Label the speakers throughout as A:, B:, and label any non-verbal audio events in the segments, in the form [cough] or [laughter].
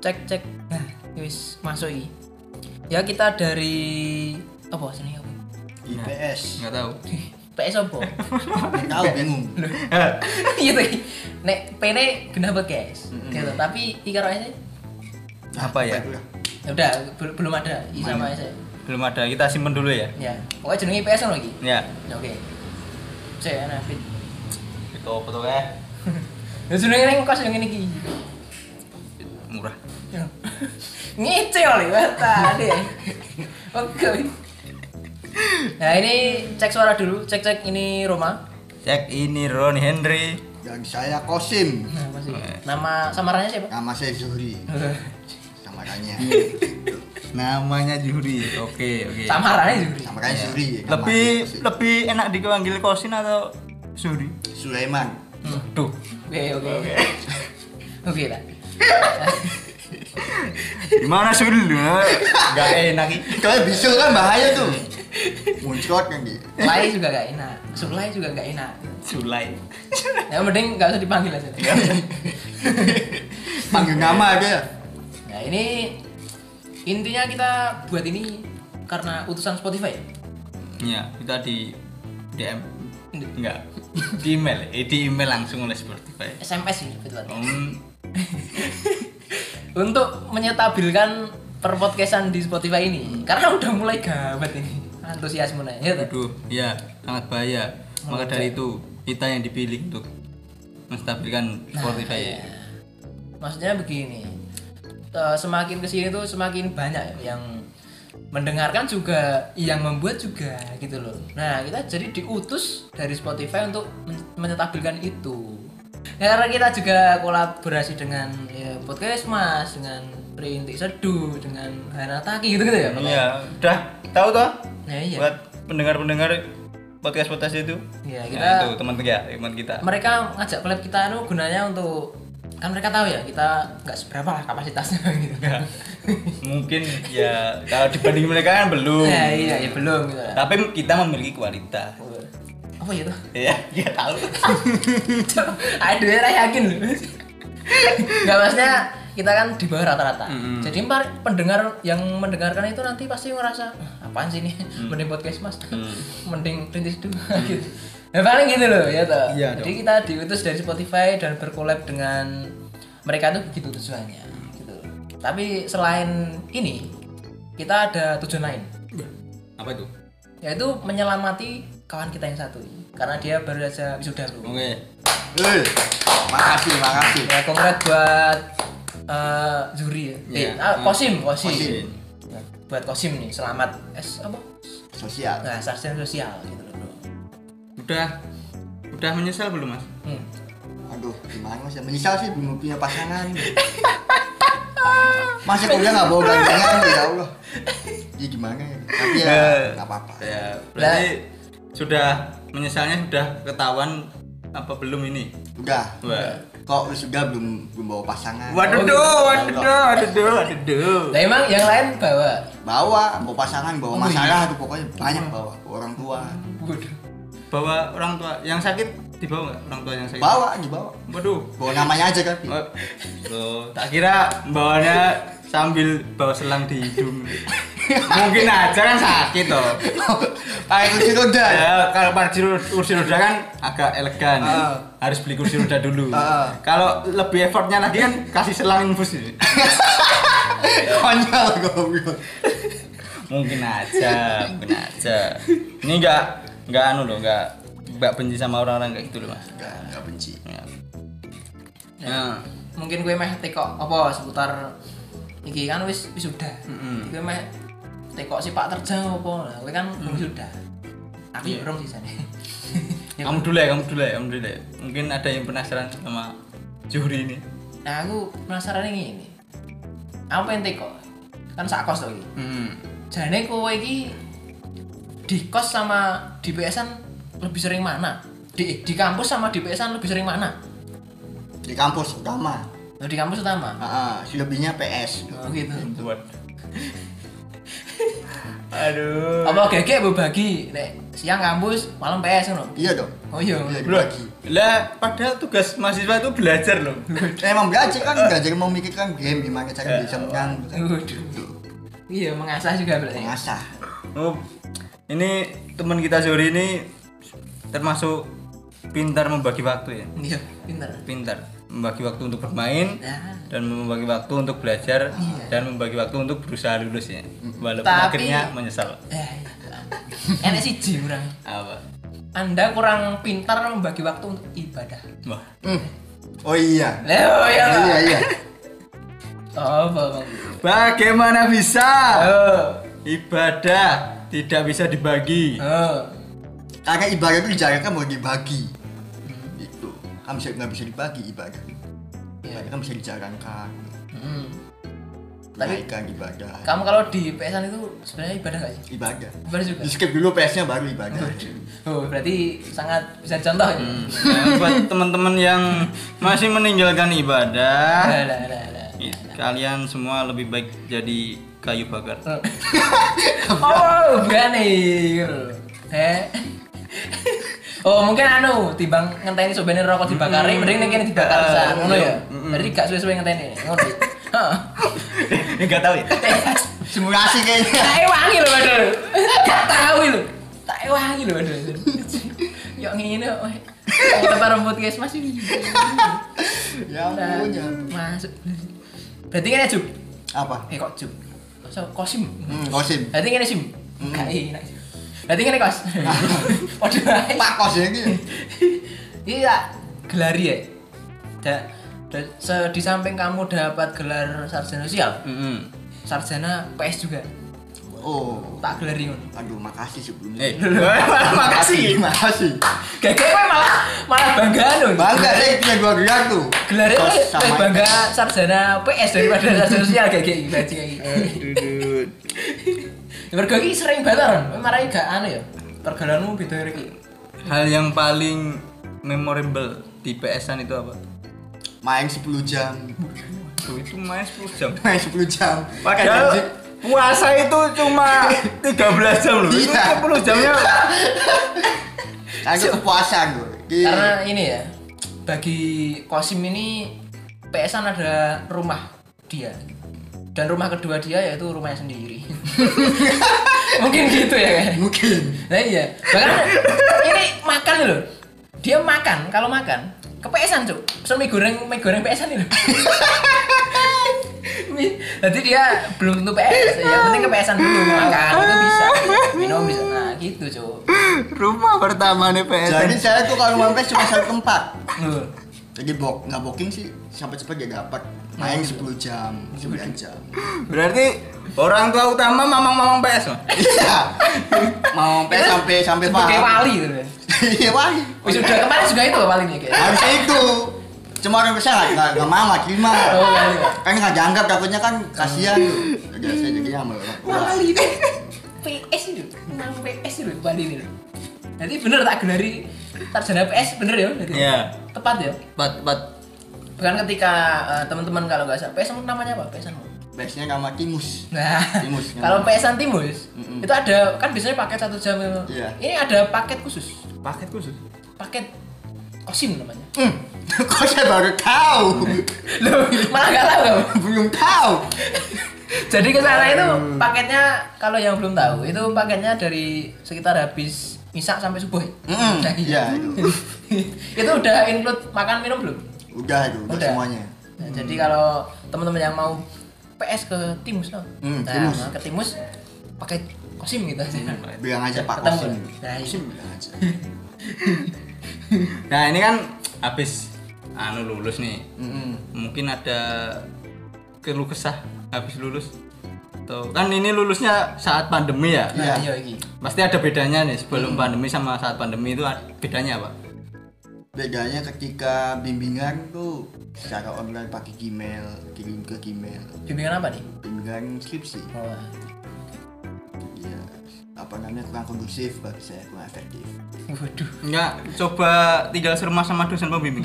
A: cek cek nah wis masuk iki ya kita dari apa sini apa [laughs]
B: IPS
C: Nah, nggak [laughs] tahu
A: PS apa
B: nggak tahu bingung
A: gitu iki. nek P ne kenapa guys gitu tapi iki karo S -nya,
C: apa ya
A: ya udah bel- belum ada I sama S -nya.
C: belum ada kita simpen dulu ya
A: ya pokoknya jenenge PS ngono iki
C: ya
A: Ya, oke cek ana fit [laughs]
C: itu apa tuh eh
A: ya jenenge ning kos yang ngene iki
C: murah
A: Ya. [laughs] ngece oleh mata deh oke nah ini cek suara dulu cek cek ini Roma
C: cek ini Ron Henry
B: dan saya Kosim
A: nah, masih nama samarannya
B: [laughs]
A: siapa
B: nama saya Zuhri samarannya
C: Iya. namanya Juri oke oke Iya.
A: samarannya Zuri
B: samarannya Zuhri nama
C: lebih
B: saya Kosim.
C: lebih enak dipanggil kosin atau Juri
B: Sulaiman
C: tuh
A: oke oke oke lah
C: gimana Suri nggak enak ih.
B: kalau bisul kan bahaya tuh muncrat kan dia
A: Lai juga gak enak Sulai juga gak enak
C: Sulai
A: ya mending gak usah dipanggil aja
B: panggil nama aja
A: [laughs] nah ini intinya kita buat ini karena utusan Spotify
C: ya kita di DM enggak di email eh, di email langsung oleh Spotify
A: SMS sih kebetulan
C: Hmm,
A: untuk menyetabilkan perpodcastan di Spotify ini karena udah mulai gabet ini antusiasme nah ya tuh.
C: Aduh, ya sangat bahaya. Maka dari itu kita yang dipilih untuk menstabilkan
A: Nah, iya.
C: Spotify.
A: maksudnya begini eh, semakin kesini tuh semakin banyak yang mendengarkan juga yang membuat juga gitu loh nah kita jadi diutus dari Spotify untuk men- menyetabilkan itu Ya, karena kita juga kolaborasi dengan ya, podcast mas dengan Perintik Seduh dengan Hanataki gitu gitu ya Bang?
C: Iya, udah tahu toh?
A: nah, iya.
C: Buat pendengar-pendengar podcast podcast itu.
A: Iya,
C: Ya,
A: kita-
C: itu teman kita, teman kita.
A: mereka ngajak collab kita itu gunanya untuk kan mereka tahu ya kita nggak seberapa lah kapasitasnya [laughs] gitu kan
C: Iya. Mungkin ya kalau dibanding mereka kan belum.
A: ya iya ya belum gitu lah
C: Tapi kita memiliki kualitas.
A: apa itu
C: Ya, dia tahu.
A: [laughs] aduh saya yakin loh nggak maksudnya kita kan di bawah rata-rata jadi par- pendengar yang mendengarkan itu nanti pasti ngerasa "Ah, apaan sih ini mending podcast mas [laughs] mending perintis dulu gitu ya paling gitu loh ya toh
C: Iya
A: jadi kita diutus dari Spotify dan berkolab dengan mereka tuh begitu tujuannya gitu tapi selain ini kita ada tujuan lain
C: [laughs] Apa itu?
A: yaitu Ya, menyelamati kawan kita yang satu ini. karena dia baru saja wisuda bro
C: Oke.
B: eh makasih makasih
A: Ya, kongres buat eh juri ya.
C: Iya.
A: Eh, ah, Kosim, Kosim.
C: Kosim.
A: Nah, Buat Kosim nih, selamat es apa?
B: sosial
A: Nah, sarjana sosial gitu loh, Bro.
C: Udah udah menyesal belum, Mas?
A: Hmm.
B: aduh gimana mas ya menyesal sih belum punya pasangan masa kuliah nggak bawa gandengan ya Allah ya gimana ya tapi ya
C: Eh.
B: nggak apa-apa
C: Ya, berarti sudah menyesalnya sudah ketahuan apa belum ini?
B: udah
C: Wah.
B: kok lu juga belum belum bawa pasangan
C: Waduh,
B: iya.
C: duh, waduh, duh, waduh, duh, waduh, duh.
A: Lah emang yang lain bawa.
B: bawa bawa pasangan bawa
A: Oh,
B: masalah tuh pokoknya banyak bawa Bawa orang tua
A: Waduh.
C: Bawa orang tua yang sakit dibawa nggak orang tua yang
A: Iya.
C: sakit?
B: bawa dibawa
C: Waduh.
B: bawa namanya aja kan
C: Oh, Loh, tak kira bawanya sambil bawa selang di hidung. Mungkin aja kan sakit toh.
B: pakai kursi roda
A: Iya.
C: Ya, kalau kursi roda, kursi roda kan agak elegan. Harus beli kursi roda dulu.
B: Ah.
C: Kalau lebih effortnya lagi kan kasih selang infus ini.
B: [laughs] konyol goblok
C: mungkin aja mungkin aja ini nggak nggak anu loh nggak nggak benci sama orang-orang kayak gitu loh mas
B: nggak nggak benci
C: ya. Nah,
A: Ya. Mungkin gue meh tekok apa seputar iki kan wis wisuda.
C: Mm-mm.
A: Gue meh tekok si Pak Terjang apa lah. Gue kan belum wisuda. Aku ya belum sih [laughs] sana.
C: Iya. kamu dulu ya kamu dulu ya kamu dulu ya mungkin ada yang penasaran sama juri ini
A: Nah, aku penasaran ini. Apa yang tekok? Kan sakos tuh iki. jane kowe iki di kos sama di PSan lebih sering mana? Di di kampus sama di PSan lebih sering mana?
B: di kampus utama
A: Nah, di kampus utama.
B: Oh,
A: Ya.
C: gitu.
B: Ah, ah, selebihnya PS
A: Oh gitu.
C: buat Aduh.
A: Apa gege berbagi nek siang kampus, malam PS ngono.
B: Iya dong.
A: Oh iya.
B: Iya
C: Loh,
B: dibagi.
C: Lah, padahal tugas mahasiswa itu belajar loh.
B: Emang belajar kan belajar memikirkan game gimana cara
A: Iya.
B: bisa menang. gitu kan.
A: Waduh. Iya, mengasah juga berarti.
B: Mengasah.
C: Oh, ini teman kita Zuri ini termasuk pintar membagi waktu ya.
A: Iya, pinter.
C: Pintar membagi waktu untuk bermain
A: Nah,
C: dan membagi waktu untuk belajar dan membagi waktu untuk berusaha lulus ya. Walaupun
A: Tapi-
C: akhirnya menyesal.
A: eh, enak siji kurang.
C: Apa?
A: Anda kurang pintar membagi waktu untuk ibadah.
C: Wah.
B: Hmm. Oh iya.
A: Leo ya.
B: Oh, iya
A: [laughs]
B: iya.
A: Apa Oh, bang?
C: Bagaimana bisa
A: Oh,
C: Eh. ibadah tidak bisa dibagi?
A: oh.
B: Karena ibadah itu dijalankan kan, mau dibagi. Itu. Kamu bisa nggak bisa dibagi ibadah.
A: Iya.
B: Ibadah kan bisa dijalankan.
A: Mm. Tapi
B: Naikkan ibadah.
A: kamu kalau di PSan itu sebenarnya ibadah nggak sih?
B: Ibadah.
A: Ibadah juga.
B: Di skip dulu PS-nya baru ibadah.
A: Oh, berarti sangat bisa contoh ya.
B: Hmm.
C: Nah, buat teman-teman yang masih meninggalkan ibadah,
A: Lah, lah, lah, lah.
C: i- kalian semua lebih baik jadi kayu bakar.
A: oh, berani. Eh. Oh, mungkin anu timbang ngenteni sobene rokok dibakari
B: Hmm.
A: mending ning kene dibakar
B: Eh,
A: sa ngono
B: iya.
A: ya. Berarti gak suwe-suwe ngenteni. Ngono. ya?
B: [laughs]
A: Heeh.
C: Enggak tahu ya.
B: Eh, Simulasi kayaknya.
A: Tak ewangi lho, Waduh. Gak tahu lho. Tak ewangi lho, Waduh. Yo ngene kok. Kita rambut guys masih.
B: ya ampun ya. ampun.
A: Nah, Masuk. Berarti kene Jub.
B: Apa?
A: Eh kok Jub. Kok so- Kosim.
B: Hmm, kosim.
A: Berarti kene Sim. Gak enak. Berarti kene [laughs] Kos. Waduh. ae.
B: Pak kos ya ini.
A: Iya, gelari ya. Da, da- se- di samping kamu dapat gelar sarjana sosial,
C: Mm-mm.
A: sarjana PS juga.
B: Oh.
A: Tak gelari ngono.
B: Aduh, makasih sebelumnya.
C: Eh, makasih.
B: makasih.
A: Gege kowe malah malah bangga lho.
B: Bangga saya punya dua gelar tuh.
A: Gelarnya
B: Kos
A: kowe-
B: sama
A: kowe bangga sarjana PS daripada [laughs] sarjana sosial gege iki bajing iki. gitu.
B: Eh.
A: Mergo iki sering banget. Kowe marai gak anu ya. Pergaulanmu beda iki.
C: Hal yang paling memorable di PSan itu apa?
B: main 10 jam.
C: Tuh, itu main 10 jam.
B: Main 10 jam.
C: Padahal
B: janji.
C: puasa itu
B: [laughs]
C: cuma 13 jam loh. Itu
B: Iya.
C: 10 jamnya.
B: Aku Iya, kepuasan gue. Di-
A: Karena ini ya, bagi Kosim ini PSan ada rumah dia dan rumah kedua dia yaitu rumahnya
B: [laughs]
A: sendiri. Mungkin gitu ya kan?
B: mungkin
A: Nah iya, bahkan ini makan loh. Dia makan, kalau makan ke PSan cuk, pesen mie goreng, mie goreng PSan ini. loh. Mi- Jadi dia belum tentu PS, ya penting ke PSan dulu makan itu bisa, minum bisa, nah gitu cuk.
C: Rumah pertama nih
B: jadi saya tuh kalau mampir cuma satu tempat
A: Loh,
B: jadi bok nggak booking sih sampai cepat gak dapat
A: Oh,
B: main
A: iya.
B: 10 jam 9 jam
C: Berarti orang tua utama mamang-mamang PS. Mas.
B: iya mau mampir sampai sampai
A: Sebagai
B: paham
A: wali gitu ya.
B: [laughs] iya wali
A: Wis udah kemarin juga itu paling ya kayak.
B: harusnya itu cuma orang besar nggak- nggak nggak mau nggak terima
A: Oh, wali.
B: kan nggak dianggap takutnya kan kasihan tuh jadi saya jadi sama orang tua
A: Wali deh. PS itu, nang PS itu Bali ini. loh. Nanti bener tak gelari sarjana PS bener ya? berarti?
C: Iya.
A: Tepat ya.
C: Pat pat
A: Bukan ketika eh, teman-teman kalau nggak salah PS namanya apa? PS -mu?
B: biasanya nama timus
A: [laughs] Nah,
B: Timus, kan?
A: kalau PS Timus
B: Mm-mm.
A: itu ada kan biasanya paket satu jam. ya.
B: Iya.
A: Ini ada paket khusus,
C: paket khusus.
A: paket kosim
B: [laughs]
A: namanya.
B: hmm. kok saya baru tahu
A: Loh,
B: iya.
A: [laughs] malah nggak tahu kamu.
B: belum tahu
A: Jadi ke sana itu paketnya kalau yang belum tahu itu paketnya dari sekitar habis isak sampai subuh. ya?
B: Mm-mm,
A: Udah,
B: iya, itu.
A: [laughs] itu udah include makan minum belum?
B: udah itu udah
A: Udah.
B: semuanya
A: Nah, Jadi kalau teman-teman yang mau PS ke Timus loh.
B: Mm,
A: nah,
B: Timus.
A: ke Timus pakai kosim gitu aja. [laughs]
B: bilang aja Iya, Pak
A: Ketemu.
B: Kosim
A: Nah, iya.
B: Kosim bilang aja
C: Nah, ini kan habis anu lulus nih.
B: Mm-mm.
C: Mungkin ada keluh kesah habis lulus. Tuh, kan ini lulusnya saat pandemi ya.
A: Nah,
B: Iya.
A: iya iki.
C: Pasti ada bedanya nih sebelum pandemi sama saat pandemi itu ad- bedanya apa?
B: bedanya ketika bimbingan tuh secara online pakai Gmail kirim ke Gmail
A: Bimbingan apa nih?
B: bimbingan skripsi
A: Oh,
B: ya apa namanya kurang kondusif bagi saya kurang efektif
A: waduh.
C: Enggak, coba tinggal serumah sama dosen pembimbing.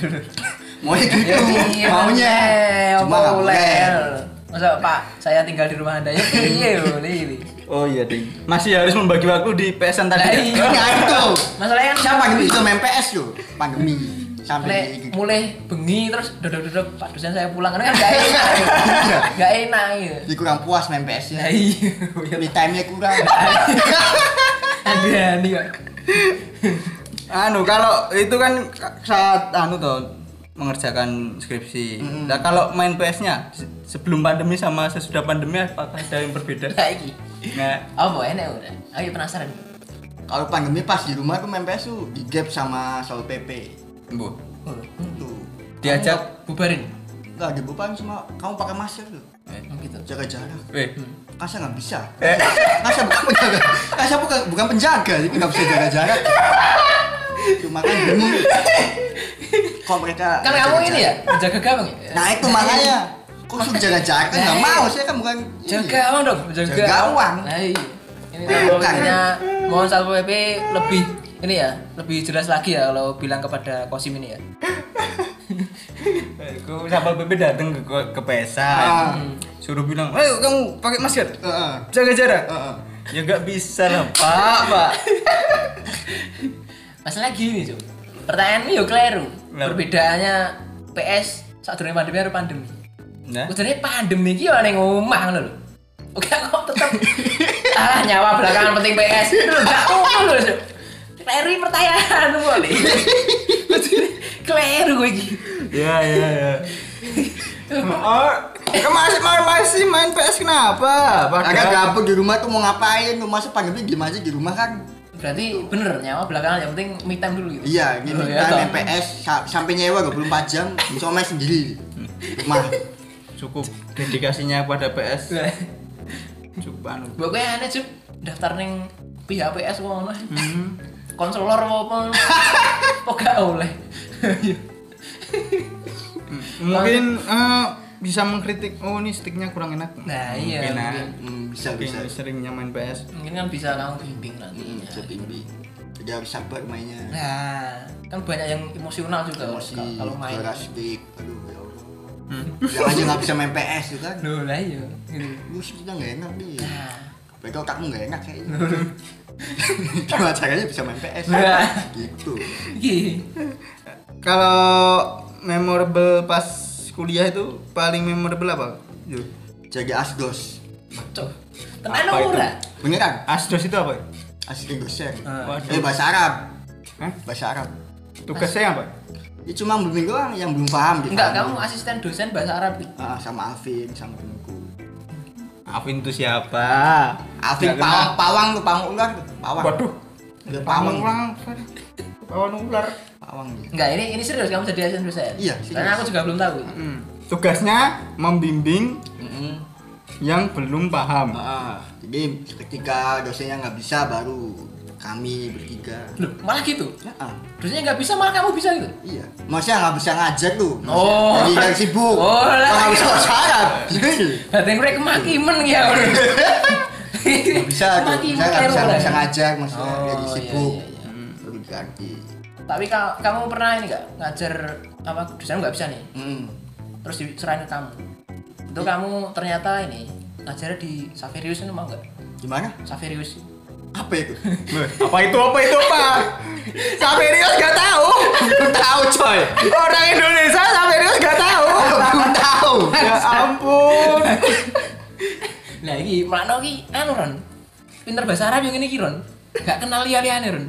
B: mau [laughs] gitu
A: Ya, iya,
B: maunya
A: eh, apa
B: cuma nggak boleh [laughs]
A: ulel? Masa Pak, saya tinggal di rumah Anda ya? Iya, loh, ini.
C: Oh iya ding. Masih harus membagi waktu di PSN tadi.
A: Nah,
C: ya?
A: iya.
B: Nah itu.
A: masalahnya kan
B: Siapa pandemi itu main PS yo. Pandemi
A: Mulai,
B: sampai gitu.
A: mulai bengi terus dodok-dodok Pak dosen saya pulang karena kan gak
B: [laughs]
A: enak
B: Iya.
A: gak enak gitu
B: Jadi kurang puas main PS
A: ya
B: ya.
A: iya [laughs]
B: Me time-nya kurang.
A: ada nih kok
C: Anu kalau itu kan ka- saat anu tuh mengerjakan skripsi. Nah kalau main PS-nya se- sebelum pandemi sama sesudah pandemi apakah ada yang berbeda?
A: lagi
C: Nah,
A: apa Oh, enak udah ayo penasaran
B: Kalau pandemi pas di rumah tuh main PS tuh di gap sama Saul PP.
C: bu,
A: Oh,
B: Tuh.
C: diajak
A: bubarin
B: Enggak ada bukan cuma kamu pakai masker tuh.
A: Oh, gitu
B: Jaga jarak.
C: Weh,
B: Kasa nggak bisa. Kasa bukan penjaga. Kasa bukan bukan penjaga, jadi nggak bisa jaga jarak. Cuma kan bingung. Kok mereka
A: kan
B: nggak
A: kamu
B: jaga
A: ini ya
B: jarak?
A: jaga gawang ya
B: Nah itu makanya. Kok suruh jaga jarak kan nggak
A: Nah,
B: mau
A: iya.
B: saya kan bukan ini.
A: jaga awang dong jaga
B: Jaga awang.
A: nah, iya. ini
B: Bukan.
A: pokoknya mohon satpol pp lebih ini ya lebih jelas lagi ya kalau bilang kepada kosim ini ya
C: aku sama Bebe datang ke ke
B: Ah.
C: PSN. Suruh bilang, "Ayo kamu pakai masker.
B: Heeh.
C: Jaga jarak."
B: Heeh.
C: Ya nggak bisa lah, Pak, Pak.
A: masalah gini cuy pertanyaanmu yuk keliru
C: Lah.
A: perbedaannya PS saat dunia pandemi atau pandemi
C: Nah,
A: Udarnya pandemi ini orang yang ngomah ngono lho oke kok tetep alah nyawa belakangan penting PS itu lho gak ngono lho Cuk. keliru ini pertanyaan lu kali keliru gue iki
C: ya ya ya. Oh, kamu masih masih main PS kenapa?
B: Nah, kan gabut di rumah tuh mau ngapain? Tuh masa pandemi gimana sih di rumah kan?
A: berarti bener nyawa belakangan yang penting me time dulu gitu
B: Iya, ini
A: Oh,
B: oh,
A: iya, toh.
B: main PS sa- sampai nyewa 24 jam, bisa main sendiri.
A: [laughs]
B: Rumah.
C: cukup dedikasinya pada PS
A: Lah,
C: cukup anu
A: pokoknya aneh cuy daftar neng pihak PS wong lah
C: Hmm.
A: konselor apa apa kok gak oleh
C: mungkin eh, bisa mengkritik oh ini sticknya kurang enak
A: nah iya
C: Mungkin,
A: mungkin.
B: Hmm, bisa
C: mungkin
B: bisa.
C: seringnya main PS
A: mungkin kan bisa kamu bimbing nantinya
B: Bisa bimbing. Hmm, Jadi harus sabar mainnya.
A: Nah, kan banyak yang emosional juga
B: Emosi,
A: kalau- kalau main. kan. Hmm.
B: juara stick. Aduh, ya Allah. Yang aja nggak
A: [laughs]
B: bisa main PS tuh kan.
A: Loh lah iya. Gitu.
B: Lu sebenarnya nggak enak nih.
A: Nah,
B: Mereka otakmu nggak enak kayaknya. [laughs] Cuma caranya bisa main PS.
A: Nah.
B: gitu.
A: iki.
C: kalau memorable pas kuliah itu paling memorable apa Yo.
B: Jadi asdos.
A: Cok. Tenan
C: Apa
A: ora?
B: Beneran?
C: asdos itu apa
B: Asdos dosen.
A: Ah.
B: Eh bahasa Arab.
C: Hah?
B: Bahasa Arab.
C: tugasnya apa
B: Ya cuma bimbing doang yang belum paham gitu.
A: Enggak, kamu asisten dosen bahasa Arab. Ki.
B: Ah, sama Alvin sama temanku.
C: Alvin itu siapa
B: Alvin
C: Nggak
B: pawang, pawang tuh pawang ular tuh,
C: kenal.
B: pawang.
C: waduh
B: Udah
C: pawang
B: pawang,
C: ulang pawang ular
B: pawang dia.
A: Enggak, ini ini serius kamu jadi asisten dosen.
B: Iya,
A: Karena
B: serius.
A: aku juga belum tahu. Ki.
C: Hmm. tugasnya membimbing
B: Heeh.
C: yang belum paham
B: Ah, jadi ketika dosennya nggak bisa baru kami bertiga.
A: Loh, malah gitu.
B: Heeh.
A: Dosennya nggak bisa malah kamu bisa gitu.
B: Iya. Maksudnya nggak bisa ngajar tuh. Maksudnya
A: Oh.
B: Jadi yang sibuk.
A: Oh, lah.
B: Nggak bisa syarat. Sendiri.
A: Batin mereka makimen ya.
B: Nggak bisa tuh.
A: Makimen,
B: Saya nggak bisa
A: lah.
B: nggak bisa ngajar maksudnya
A: Oh,
B: lagi
A: iya,
B: sibuk.
A: iya, iya.
B: Baru ganti.
A: Tapi ka- kamu pernah ini enggak ngajar apa dosen nggak bisa nih?
B: Mm.
A: terus diserahin ke kamu itu kamu ternyata ini ngajarnya di Saverius itu mau nggak
B: Gimana?
A: Saverius
B: Apa itu?
C: Loh, apa itu apa itu apa Saverius gak tahu
B: Belum tahu coy.
C: orang Indonesia Saverius gak tahu
B: Belum tahu.
C: ya ampun
A: nah ini melano ini anu Ron pinter bahasa Arab yang ini ki, Ron gak kenal liya liyane Ron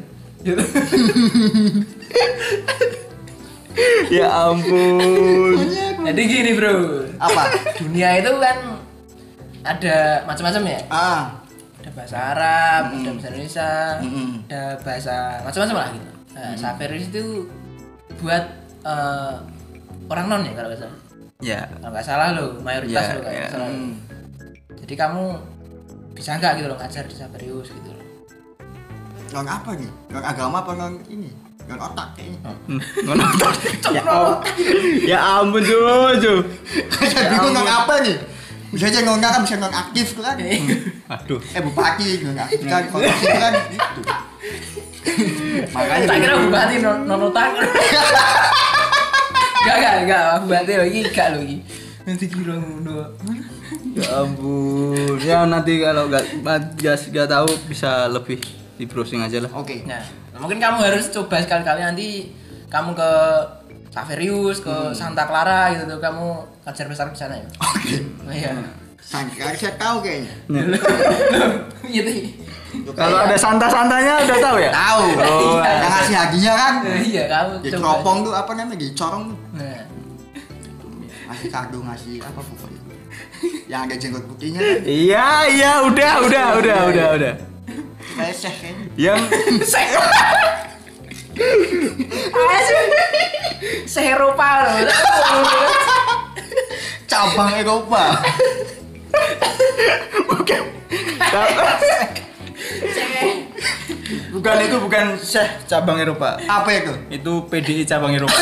C: ya ampun
A: jadi gini bro
B: Apa?
A: dunia itu kan ada macam-macam ya
B: Ah.
A: ada bahasa Arab ada bahasa Indonesia
B: Mm-mm.
A: ada bahasa macam-macam lah gitu nah, Saverius itu buat eh, orang non ya kalau nggak salah
C: ya
A: kalau nggak salah lo mayoritas
C: Iya,
A: lo kalau nggak
C: iya.
A: salah
B: Hmm.
A: jadi kamu bisa nggak gitu loh ngajar di Sabarius gitu loh
B: non apa nih non agama apa non ini non otak kayaknya
A: Oh.
C: ya, am- ya ampun cucu
B: [laughs] saya
A: Ya
B: bingung non apa nih bisa aja non kan bisa non aktif tuh
A: Iya.
B: kan eh
C: aduh
B: bupati non aktif kan
C: Iya.
B: kalau aktif kan gitu
A: tak
B: makanya
A: kira bupati non non otak gak gak gak bupati lagi gak lagi nanti kira ngono
C: ya ampun ya nanti kalau nggak nggak nggak tahu bisa lebih di browsing aja lah
B: Oke.
A: Nah, mungkin kamu harus coba sekali-kali nanti kamu ke Saverius, ke Santa Clara gitu tuh kamu kajar besar ke sana ya.
B: Oke.
A: Iya.
B: Sangka saya tahu kayaknya.
A: Gitu.
C: kalau ada santa-santanya udah tahu ya
B: tahu.
C: Oh,
B: yang ngasih hadiahnya kan.
A: Nah, Iya, kamu
B: Ya
A: coba.
B: keropong tuh apa namanya? Di corong tuh.
A: Nah,
B: ngasih kado ngasih apa pokoknya. Yang ada jenggot putihnya kan.
C: iya iya udah udah udah udah udah Ya.
B: Reseh kayaknya.
C: yang
A: Seropa loh. [laughs]
B: Cabang Eropa.
C: bukan itu bukan Syekh cabang Eropa
B: apa itu?
C: itu PDI cabang Eropa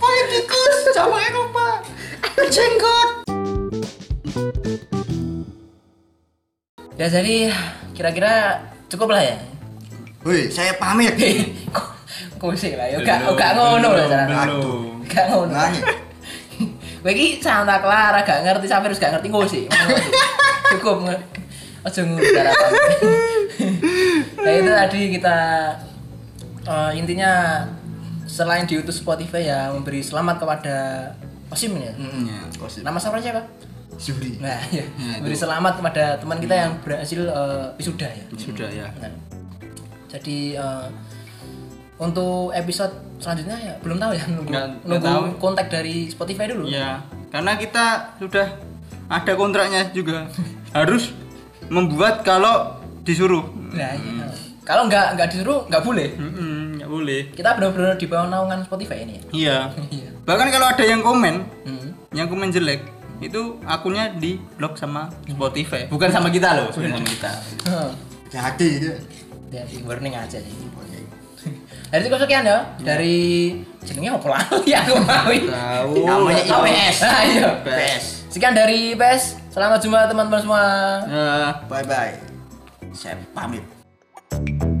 B: Politikus cabang Eropa. Berjenggot.
A: Ya jadi kira-kira cukup lah ya. [laughs]
B: Woi, saya pamit.
A: Kok kok sih lah ya. Gak gak ngono lah caranya.
C: belum
A: Gak ngono.
B: Nangis.
A: Kowe iki Santa Clara gak ngerti Saverius gak ngerti ngono sih. Ngono sih. Cukup nge- Ojo ngurus harapan. nah itu tadi kita eh, intinya selain diutus Spotify ya memberi selamat kepada Osim ya.
C: Hmm,
A: Nama siapa siapa?
B: Juli.
A: Nah, ya.
C: Nah, itu. Hmm.
A: Beri selamat kepada teman kita yang berhasil eh, wisuda ya.
C: sudah ya
A: Nah, jadi eh, untuk episode selanjutnya ya belum tahu ya nunggu,
C: Nggak- nggak
A: nunggu
C: tahu.
A: kontak dari Spotify dulu.
C: ya karena kita sudah ada kontraknya juga harus membuat kalau disuruh
A: Nah, iya. Kalau nggak nggak disuruh nggak boleh.
C: Mm-mm, nggak Hmm, boleh
A: Kita benar-benar di bawah naungan Spotify ini. ya?
C: iya
A: Iya.
C: bahkan kalau ada yang komen
A: Hmm.
C: yang komen jelek itu akunnya di blok sama Spotify bukan sama kita loh bukan sama kita
B: Hati-hati gitu.
A: Jadi warning aja sih. Dari itu sekian ya. Dari jenengnya apa lah [laughs] ya aku mau.
C: tahu
B: Namanya IPS.
A: Ah, iya.
B: IPS.
A: Sekian dari PES.
C: Ya.
A: Selamat jumpa teman-teman semua.
C: Eh,
B: Bye-bye. Saya pamit.